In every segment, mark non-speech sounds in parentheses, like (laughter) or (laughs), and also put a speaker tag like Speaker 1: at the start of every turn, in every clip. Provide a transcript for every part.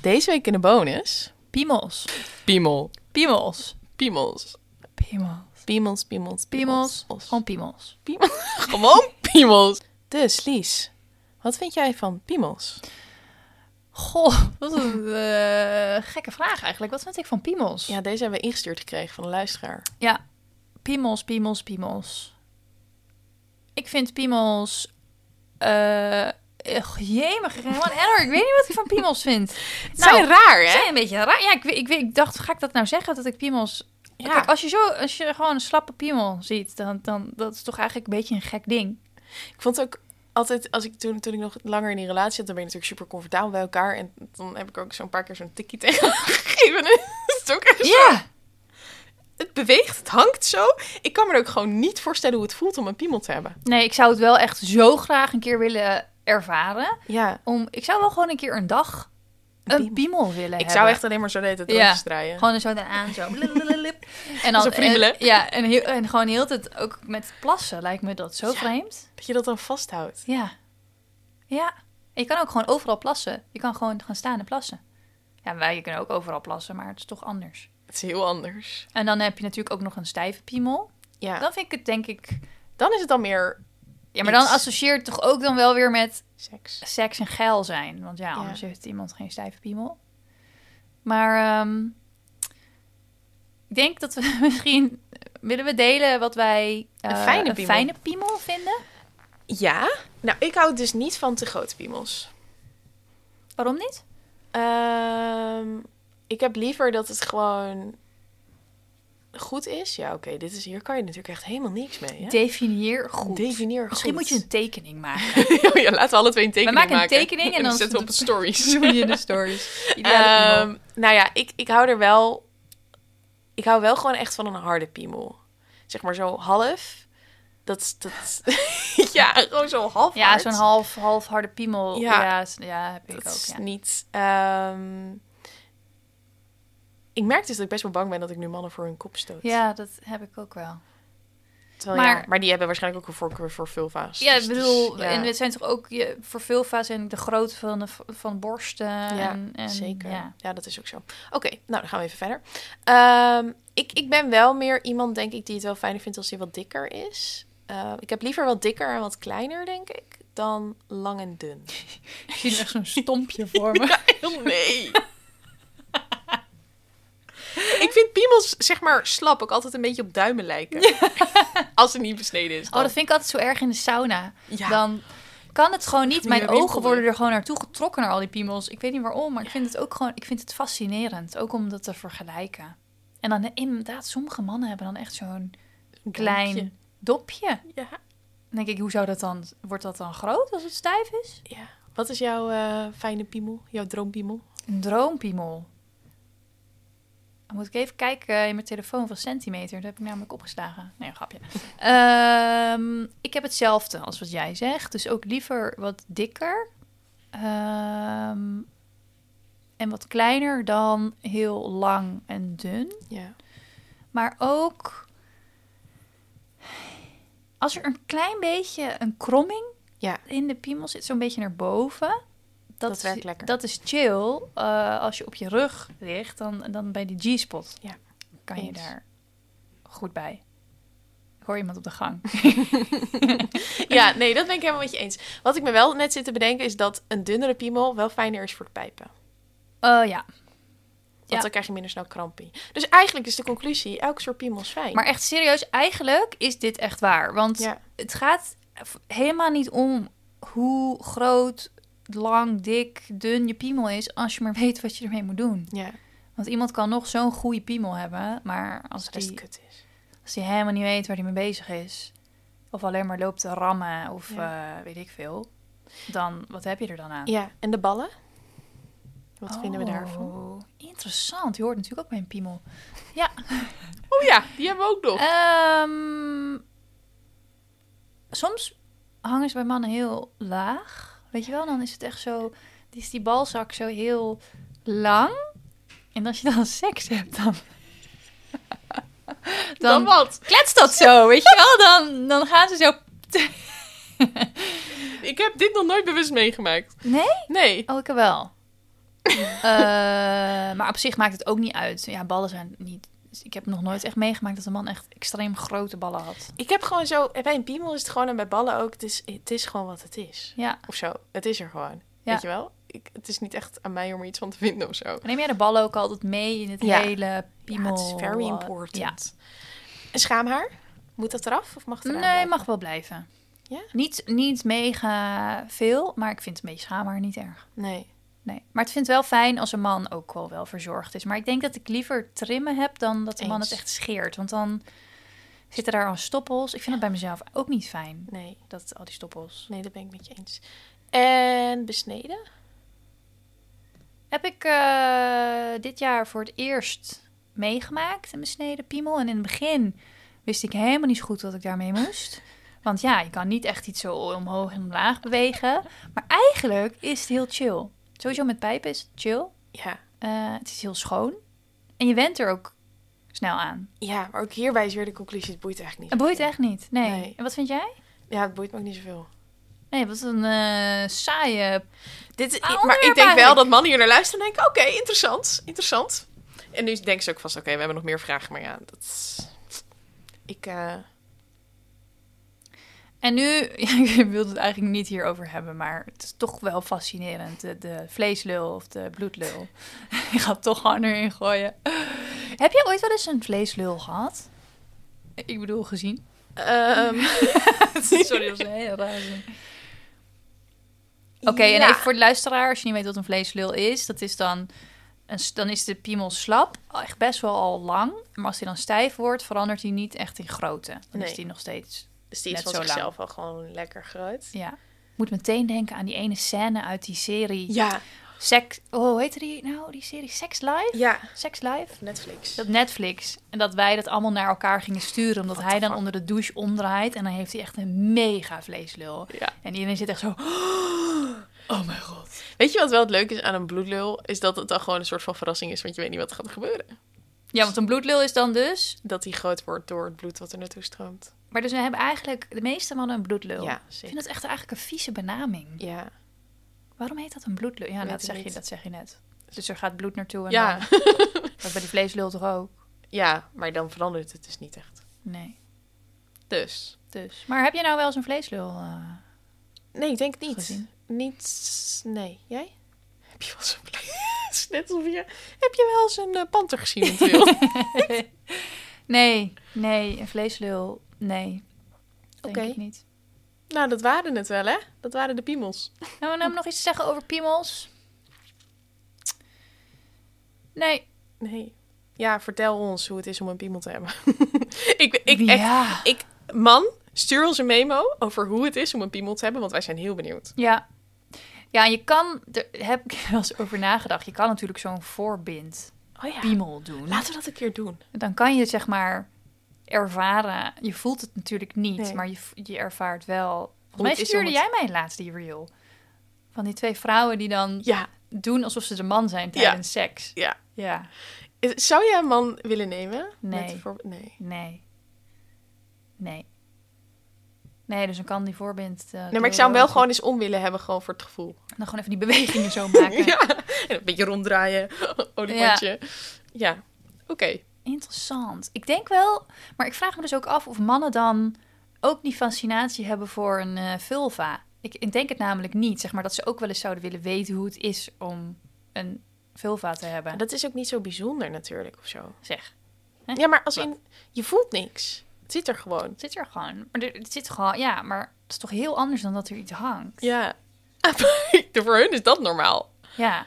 Speaker 1: Deze week in de bonus.
Speaker 2: Piemels.
Speaker 1: Piemel.
Speaker 2: Piemels.
Speaker 1: Piemels.
Speaker 2: Piemels.
Speaker 1: Piemels, piemels,
Speaker 2: Piemels.
Speaker 1: Os.
Speaker 2: Gewoon piemels.
Speaker 1: Piemel- (laughs) Gewoon piemels. Dus Lies, wat vind jij van piemels?
Speaker 2: Goh, wat een eh, gekke vraag eigenlijk. Wat vind ik van piemels?
Speaker 1: Ja, deze hebben we ingestuurd gekregen van de luisteraar.
Speaker 2: Ja, piemels, piemels, piemels. Ik vind piemels... eh Jemig, man. Edward, ik weet niet wat ik van piemels (laughs) vind.
Speaker 1: Het zijn raar,
Speaker 2: Ze
Speaker 1: hè?
Speaker 2: zijn een beetje raar. Ja, ik, weet- ik, weet- ik dacht, ga ik dat nou zeggen? Dat ik piemels...
Speaker 1: Ja.
Speaker 2: Kijk, als je, zo, als je gewoon een slappe piemel ziet, dan, dan dat is toch eigenlijk een beetje een gek ding.
Speaker 1: Ik vond het ook altijd, als ik toen, toen ik nog langer in die relatie zat, dan ben je natuurlijk super comfortabel bij elkaar. En dan heb ik ook zo'n paar keer zo'n tikkie (laughs) tegen haar
Speaker 2: (laughs)
Speaker 1: gegeven. En het is ook echt zo- Het beweegt, het hangt zo. Ik kan me er ook gewoon niet voorstellen hoe het voelt om een piemel te hebben.
Speaker 2: Nee, ik zou het wel echt zo graag een keer willen ervaren.
Speaker 1: Ja.
Speaker 2: Om, ik zou wel gewoon een keer een dag
Speaker 1: Een
Speaker 2: een
Speaker 1: piemel.
Speaker 2: piemel, willen
Speaker 1: Ik
Speaker 2: hebben.
Speaker 1: zou echt alleen maar zo de hele tijd
Speaker 2: Ja.
Speaker 1: rondjes draaien.
Speaker 2: Gewoon zo daaraan,
Speaker 1: (laughs)
Speaker 2: zo. blululululip. En dan,
Speaker 1: Zo friemelen.
Speaker 2: eh, ja, en, heel, en gewoon heel het ook met plassen lijkt me dat zo
Speaker 1: Ja.
Speaker 2: vreemd.
Speaker 1: Dat je dat dan vasthoudt.
Speaker 2: Ja. Ja. En je kan ook gewoon overal plassen. Je kan gewoon gaan staan en plassen. Ja, wij kunnen ook overal plassen, maar het is toch anders.
Speaker 1: Het is heel anders.
Speaker 2: En dan heb je natuurlijk ook nog een stijve piemel.
Speaker 1: Ja.
Speaker 2: Dan vind ik het denk ik...
Speaker 1: Dan is het dan meer
Speaker 2: Ja, maar dan
Speaker 1: Iets.
Speaker 2: associeert het toch ook dan wel weer met
Speaker 1: seks.
Speaker 2: seks en geil zijn. Want ja,
Speaker 1: Ja.
Speaker 2: anders heeft iemand geen stijve piemel. Maar ehm, ik denk dat we (laughs) misschien... Willen we delen wat wij eh,
Speaker 1: Een fijne piemel.
Speaker 2: fijne piemel vinden?
Speaker 1: Ja? Nou, ik hou dus niet van te grote piemels.
Speaker 2: Waarom niet?
Speaker 1: Ehm, ik heb liever dat het gewoon goed is. Ja, oké, dit is hier kan je natuurlijk echt helemaal niks mee. Hè?
Speaker 2: Definieer goed.
Speaker 1: Definieer goed.
Speaker 2: Misschien moet je een
Speaker 1: (laughs)
Speaker 2: tekening maken.
Speaker 1: een... ja, laten we alle twee een tekening
Speaker 2: maken een
Speaker 1: (laughs)
Speaker 2: tekening en dan
Speaker 1: zetten
Speaker 2: (laughs)
Speaker 1: we op de stories.
Speaker 2: Doe je in de stories. Ideale piemel.
Speaker 1: Ehm, nou ja, ik, ik hou er wel... Ik hou wel gewoon echt van een harde piemel. Zeg maar zo half. Dat, is- (laughs) dat... ja, gewoon zo half
Speaker 2: ja,
Speaker 1: hard.
Speaker 2: zo'n half, half harde piemel.
Speaker 1: Ja.
Speaker 2: Ja, ja, is- ja heb ik
Speaker 1: Dat is
Speaker 2: ook. Ja.
Speaker 1: niet. ehm, ik merk dus dat ik best wel bang ben dat ik nu mannen voor hun kop stoot.
Speaker 2: ja, dat heb ik ook wel.
Speaker 1: Terwijl, ja, maar,
Speaker 2: maar-
Speaker 1: die hebben waarschijnlijk ook een voorkeur voor vulva's.
Speaker 2: Ja,
Speaker 1: Dus
Speaker 2: ik
Speaker 1: het is-
Speaker 2: bedoel,
Speaker 1: ja.
Speaker 2: en het zijn toch ook je, voor vulva's en de grootte van, de, van borsten.
Speaker 1: Ja,
Speaker 2: en, en,
Speaker 1: Zeker. Ja.
Speaker 2: Ja.
Speaker 1: dat is ook zo. Oké, nou dan gaan we even verder. Ehm, ik, ik ben wel meer iemand, denk ik, die het wel fijner vindt als hij wat dikker is. Eh, ik heb liever wat dikker en wat kleiner, denk ik, dan lang en
Speaker 2: (laughs)
Speaker 1: dun.
Speaker 2: Ik zie er echt zo'n stompje (laughs) voor me.
Speaker 1: Heel nee. (laughs) ik vind piemels, zeg maar, slap ook altijd een beetje op duimen lijken. (laughs) Als het niet besneden is.
Speaker 2: Oh, dat vind ik altijd zo erg in de sauna.
Speaker 1: Ja.
Speaker 2: Dan kan het gewoon niet.
Speaker 1: Die
Speaker 2: Mijn
Speaker 1: rimpel
Speaker 2: ogen
Speaker 1: er.
Speaker 2: worden er gewoon naartoe getrokken naar al die piemels. Ik weet niet waarom, maar ik vind het ook gewoon... Ik vind het fascinerend, ook om dat te vergelijken. En dan inderdaad, sommige mannen hebben dan echt zo'n
Speaker 1: Een
Speaker 2: klein
Speaker 1: duimpje.
Speaker 2: dopje.
Speaker 1: Ja.
Speaker 2: Dan denk ik, hoe zou dat dan... Wordt dat dan groot als het stijf is?
Speaker 1: ja. Wat is jouw eh, fijne piemel? Jouw droompiemel?
Speaker 2: Een droompiemel. Dan moet ik even kijken in mijn telefoon van centimeter. Dat heb ik namelijk opgeslagen. Nee, een
Speaker 1: (laughs)
Speaker 2: grapje. Ehm, ik heb hetzelfde als wat jij zegt. Dus ook liever wat dikker. Ehm, en wat kleiner dan heel lang en dun.
Speaker 1: Ja.
Speaker 2: Maar ook... Als er een klein beetje een kromming
Speaker 1: Ja.
Speaker 2: in de piemel zit, zo'n beetje naar boven.
Speaker 1: Dat
Speaker 2: is-
Speaker 1: werkt lekker.
Speaker 2: Dat is chill. eh, als je op je rug ligt, dan, dan bij die G-spot.
Speaker 1: Ja.
Speaker 2: Kan je
Speaker 1: Eens.
Speaker 2: daar goed bij. Ik hoor iemand op de gang. (laughs)
Speaker 1: ja, nee, dat ben ik helemaal met je eens. Wat ik me wel net zit te bedenken is dat een dunnere piemel wel fijner is voor het pijpen.
Speaker 2: Oh ja.
Speaker 1: Want
Speaker 2: Ja.
Speaker 1: dan krijg je minder snel krampie. Dus eigenlijk is de conclusie, elk soort piemel is fijn.
Speaker 2: Maar echt serieus, eigenlijk is dit echt waar. Want
Speaker 1: Ja.
Speaker 2: het gaat v- helemaal niet om hoe groot, lang, dik, dun je piemel is... als je maar (laughs) weet wat je ermee moet doen.
Speaker 1: Ja,
Speaker 2: Want iemand kan nog zo'n goede piemel hebben... maar als
Speaker 1: als het
Speaker 2: die
Speaker 1: kut is.
Speaker 2: Als hij helemaal niet weet waar hij mee bezig is. Of alleen maar loopt te rammen of
Speaker 1: Ja.
Speaker 2: eh, weet ik veel. Dan, wat heb je er dan aan?
Speaker 1: Ja, en de ballen? Wat vinden we daarvan?
Speaker 2: Oh, Interessant. Je hoort natuurlijk ook bij een piemel. Ja.
Speaker 1: Oh ja, die hebben we ook
Speaker 2: Eh,
Speaker 1: nog.
Speaker 2: ehm, soms hangen ze bij mannen heel laag. Weet je wel, dan is het echt zo... dan Is die balzak zo heel lang. En als je dan (laughs) seks hebt, dan...
Speaker 1: dan wat?
Speaker 2: kletst dat zo, weet je wel? Dan, dan gaan ze zo...
Speaker 1: Ik heb dit nog nooit bewust meegemaakt.
Speaker 2: Nee?
Speaker 1: Nee.
Speaker 2: (laughs) Oh, ik wel. Eh, maar op zich maakt het ook niet uit. Ja, ballen zijn niet... dus Ik heb nog nooit echt meegemaakt dat een man echt extreem grote ballen had.
Speaker 1: Ik heb gewoon zo... eh, Bij een piemel is het gewoon en bij ballen ook... Het is, het is gewoon wat het is.
Speaker 2: Ja.
Speaker 1: Of zo. Het is er gewoon.
Speaker 2: Ja.
Speaker 1: Weet je wel? Ik, het is niet echt aan mij om er iets van te vinden of zo.
Speaker 2: Maar neem jij de ballen ook altijd mee in het
Speaker 1: Ja.
Speaker 2: hele
Speaker 1: Ja,
Speaker 2: piemel?
Speaker 1: het is very
Speaker 2: eh,
Speaker 1: important.
Speaker 2: Ja.
Speaker 1: En schaamhaar? Moet dat eraf of mag het eraan
Speaker 2: Nee,
Speaker 1: blijven?
Speaker 2: mag wel blijven.
Speaker 1: Ja?
Speaker 2: Niet, niet mega veel, maar ik vind het een beetje schaamhaar niet erg.
Speaker 1: Nee.
Speaker 2: Nee. Maar het vindt wel fijn als een man ook wel, wel verzorgd is. Maar ik denk dat ik liever trimmen heb dan dat de man
Speaker 1: Eens.
Speaker 2: het echt scheert. Want dan zitten daar al stoppels. Ik vind het bij mezelf ook niet fijn.
Speaker 1: Nee.
Speaker 2: Dat al die stoppels.
Speaker 1: Nee, dat ben ik met je eens. En besneden?
Speaker 2: Heb ik eh, dit jaar voor het eerst meegemaakt. Een besneden piemel. En in het begin wist ik helemaal niet zo goed wat ik daarmee moest. Want ja, je kan niet echt iets zo omhoog en omlaag bewegen. Maar eigenlijk is het heel chill. Sowieso met pijpen is het chill.
Speaker 1: Ja.
Speaker 2: Eh, het is heel schoon. En je went er ook snel aan.
Speaker 1: Ja, maar ook hierbij is weer de conclusie, het boeit eigenlijk
Speaker 2: Het
Speaker 1: niet.
Speaker 2: boeit
Speaker 1: zoveel.
Speaker 2: echt niet. Nee.
Speaker 1: Nee.
Speaker 2: En wat vind jij?
Speaker 1: Ja, het boeit me ook niet zoveel.
Speaker 2: Nee, wat een eh, saaie...
Speaker 1: Dit, is-
Speaker 2: Ah,
Speaker 1: ik- maar
Speaker 2: onderwerp
Speaker 1: ik denk wel
Speaker 2: eigenlijk.
Speaker 1: dat mannen hier naar luisteren en denken, oké, interessant, interessant. En nu denken ze ook vast, oké, we hebben nog meer vragen. Maar ja, dat is... Ik, eh,
Speaker 2: En nu, (laughs) ik wilde het eigenlijk niet hierover hebben, maar het is toch wel fascinerend. De, de vleeslul of de bloedlul. (laughs) ik ga het toch gewoon erin gooien. Heb jij ooit wel eens een vleeslul gehad? Ik bedoel, (laughs) gezien.
Speaker 1: ehm,
Speaker 2: Sorry, dat is een hele raar zin. (laughs) Oké, en
Speaker 1: ja.
Speaker 2: even voor de luisteraar, als je niet weet wat een vleeslul is, dat is dan, een, s- dan is de piemel slap, echt best wel al lang. Maar als hij dan stijf wordt, verandert hij niet echt in grootte. Dan
Speaker 1: Nee.
Speaker 2: is hij nog steeds,
Speaker 1: Dus die is
Speaker 2: net
Speaker 1: van
Speaker 2: zo lang.
Speaker 1: zichzelf al gewoon lekker groot.
Speaker 2: ja. Moet meteen denken aan die ene scène uit die serie
Speaker 1: Ja,
Speaker 2: Sex... Oh, hoe heette die nou? Die serie Sex Live?
Speaker 1: ja.
Speaker 2: Sex Live?
Speaker 1: Netflix.
Speaker 2: Dat Netflix. En dat wij dat allemaal naar elkaar gingen sturen. Omdat
Speaker 1: What the
Speaker 2: hij dan
Speaker 1: fuck?
Speaker 2: onder de douche omdraait. En dan heeft hij echt een mega vleeslul.
Speaker 1: Ja.
Speaker 2: En iedereen zit echt zo... Oh mijn god.
Speaker 1: Weet je wat wel het leuke is aan een bloedlul? Is dat het dan gewoon een soort van verrassing is, want je weet niet wat er gaat gebeuren.
Speaker 2: Ja, want een bloedlul is dan dus.
Speaker 1: Dat die groot wordt door het bloed wat er naartoe stroomt.
Speaker 2: Maar dus we hebben eigenlijk de meeste mannen een bloedlul.
Speaker 1: Ja,
Speaker 2: Ik
Speaker 1: zeker.
Speaker 2: vind dat echt eigenlijk een vieze benaming.
Speaker 1: Ja.
Speaker 2: Waarom heet dat een bloedlul? Ja,
Speaker 1: Weet
Speaker 2: dat
Speaker 1: ik
Speaker 2: zeg, je,
Speaker 1: niet.
Speaker 2: dat zeg je net. Dus er gaat bloed naartoe. En
Speaker 1: Ja.
Speaker 2: dan- (laughs) dat bij die vleeslul toch ook?
Speaker 1: ja, maar dan verandert het dus niet echt.
Speaker 2: Nee.
Speaker 1: Dus.
Speaker 2: Dus. Maar heb jij nou wel eens een vleeslul eh,
Speaker 1: Nee, ik denk het niet.
Speaker 2: gezien?
Speaker 1: Niet. Nee, jij? Heb je wel eens een (laughs) Het is Net alsof je. Heb je wel eens een eh, panter gezien? (laughs) in het wild?
Speaker 2: Nee, nee, een vleeslul, nee. Denk
Speaker 1: Oké.
Speaker 2: ik niet.
Speaker 1: nou, dat waren het wel, hè? Dat waren de piemels.
Speaker 2: Nou, we hebben nog iets te zeggen over piemels. Nee.
Speaker 1: Nee. Ja, vertel ons hoe het is om een piemel te hebben. (laughs) ik, ik, echt,
Speaker 2: Ja.
Speaker 1: ik, man, stuur ons een memo over hoe het is om een piemel te hebben, want wij zijn heel benieuwd.
Speaker 2: Ja. Ja, je kan, daar heb ik wel eens over nagedacht. Je kan natuurlijk zo'n voorbind
Speaker 1: Oh ja.
Speaker 2: piemel doen.
Speaker 1: Laten we dat een keer doen.
Speaker 2: Dan kan je zeg maar ervaren. Je voelt het natuurlijk niet,
Speaker 1: Nee.
Speaker 2: maar je, v- je ervaart wel.
Speaker 1: Hoe
Speaker 2: Volgens
Speaker 1: het
Speaker 2: mij
Speaker 1: is om
Speaker 2: stuurde
Speaker 1: het-
Speaker 2: jij mij laatst die reel. Van die twee vrouwen die dan
Speaker 1: Ja.
Speaker 2: doen alsof ze de man zijn tijdens seks.
Speaker 1: Ja.
Speaker 2: Ja.
Speaker 1: Is- Zou jij een man willen nemen?
Speaker 2: Nee.
Speaker 1: Met voor- nee.
Speaker 2: Nee. Nee. Nee, dus een kan die voorbind. eh,
Speaker 1: Nee,
Speaker 2: door-
Speaker 1: maar ik zou hem wel gewoon eens om willen hebben, gewoon voor het gevoel.
Speaker 2: Dan gewoon even die bewegingen zo
Speaker 1: (laughs)
Speaker 2: maken.
Speaker 1: Ja, en een beetje ronddraaien, (laughs) olifantje. Ja, oké.
Speaker 2: Interessant. Ik denk wel, maar ik vraag me dus ook af of mannen dan ook die fascinatie hebben voor een eh, vulva. Ik, ik denk het namelijk niet, zeg maar, dat ze ook wel eens zouden willen weten hoe het is om een vulva te hebben.
Speaker 1: Maar Dat is ook niet zo bijzonder natuurlijk, of zo.
Speaker 2: Zeg,
Speaker 1: Ja, maar als in, je voelt niks. Het zit er gewoon.
Speaker 2: het zit er gewoon. Maar er- het zit gewoon, ja, maar het is toch heel anders dan dat er iets hangt.
Speaker 1: Ja. (laughs) voor hun is dat normaal.
Speaker 2: ja.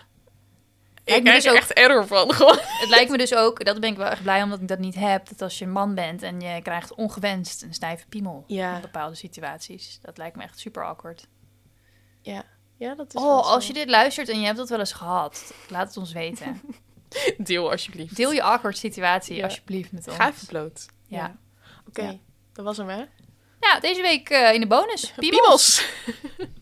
Speaker 1: Ik
Speaker 2: Lijkt me
Speaker 1: krijg
Speaker 2: dus
Speaker 1: er
Speaker 2: ook-
Speaker 1: echt error van, (laughs) gewoon.
Speaker 2: Het lijkt me dus ook, dat ben ik wel echt blij omdat ik dat niet heb, dat als je een man bent en je krijgt ongewenst een stijve piemel
Speaker 1: Ja.
Speaker 2: in bepaalde situaties, dat lijkt me echt super awkward.
Speaker 1: Ja, ja dat is wel
Speaker 2: Oh,
Speaker 1: zo.
Speaker 2: als je dit luistert en je hebt dat wel eens gehad, laat het ons
Speaker 1: (laughs)
Speaker 2: weten.
Speaker 1: Deel alsjeblieft.
Speaker 2: Deel je awkward situatie
Speaker 1: Ja.
Speaker 2: alsjeblieft met ons.
Speaker 1: Ga even bloot.
Speaker 2: Ja.
Speaker 1: Oké,
Speaker 2: Ja.
Speaker 1: dat was hem, hè?
Speaker 2: Nou, deze week eh, in de bonus, piemels.
Speaker 1: Piemels.